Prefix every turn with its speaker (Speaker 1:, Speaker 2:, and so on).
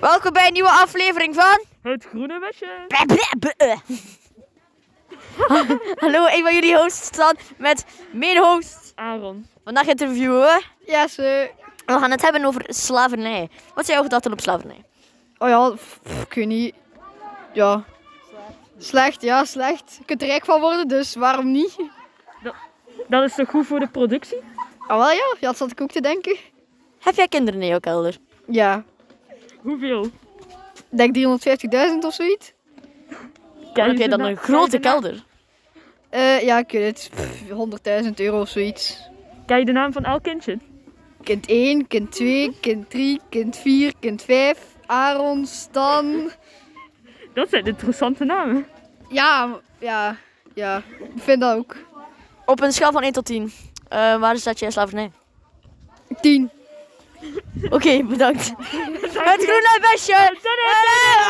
Speaker 1: Welkom bij een nieuwe aflevering van.
Speaker 2: Het groene mesje.
Speaker 1: Hallo, ik ben jullie host Stan met mijn host.
Speaker 2: Aaron.
Speaker 1: Vandaag interviewen.
Speaker 3: Ja, ze.
Speaker 1: We gaan het hebben over slavernij. Wat zijn jouw gedachten op slavernij?
Speaker 3: Oh ja, pff, pff, ik weet niet. Ja. Slecht, ja, slecht. Je kunt er rijk van worden, dus waarom niet?
Speaker 2: Dat is toch goed voor de productie?
Speaker 3: Ah, wel ja, ja, dat zat ik ook te denken.
Speaker 1: Heb jij kinderen in jouw kelder?
Speaker 3: Ja,
Speaker 2: Hoeveel?
Speaker 3: ik denk 350.000 of zoiets.
Speaker 1: Dan heb jij dan een grote kelder?
Speaker 3: Eh, ja, ik weet het. Pff, 100.000 euro of zoiets.
Speaker 2: Kijk de naam van elk kindje.
Speaker 3: Kind 1, kind 2, kind 3, kind 4, kind 5. Aaron, Stan.
Speaker 2: Dat zijn interessante namen.
Speaker 3: Ja, m- ja, ja. Ik vind dat ook.
Speaker 1: Op een schaal van 1 tot 10. eh, waar staat jij slavernij?
Speaker 3: 10.
Speaker 1: Oké, bedankt. Het groene besje!
Speaker 2: Tada!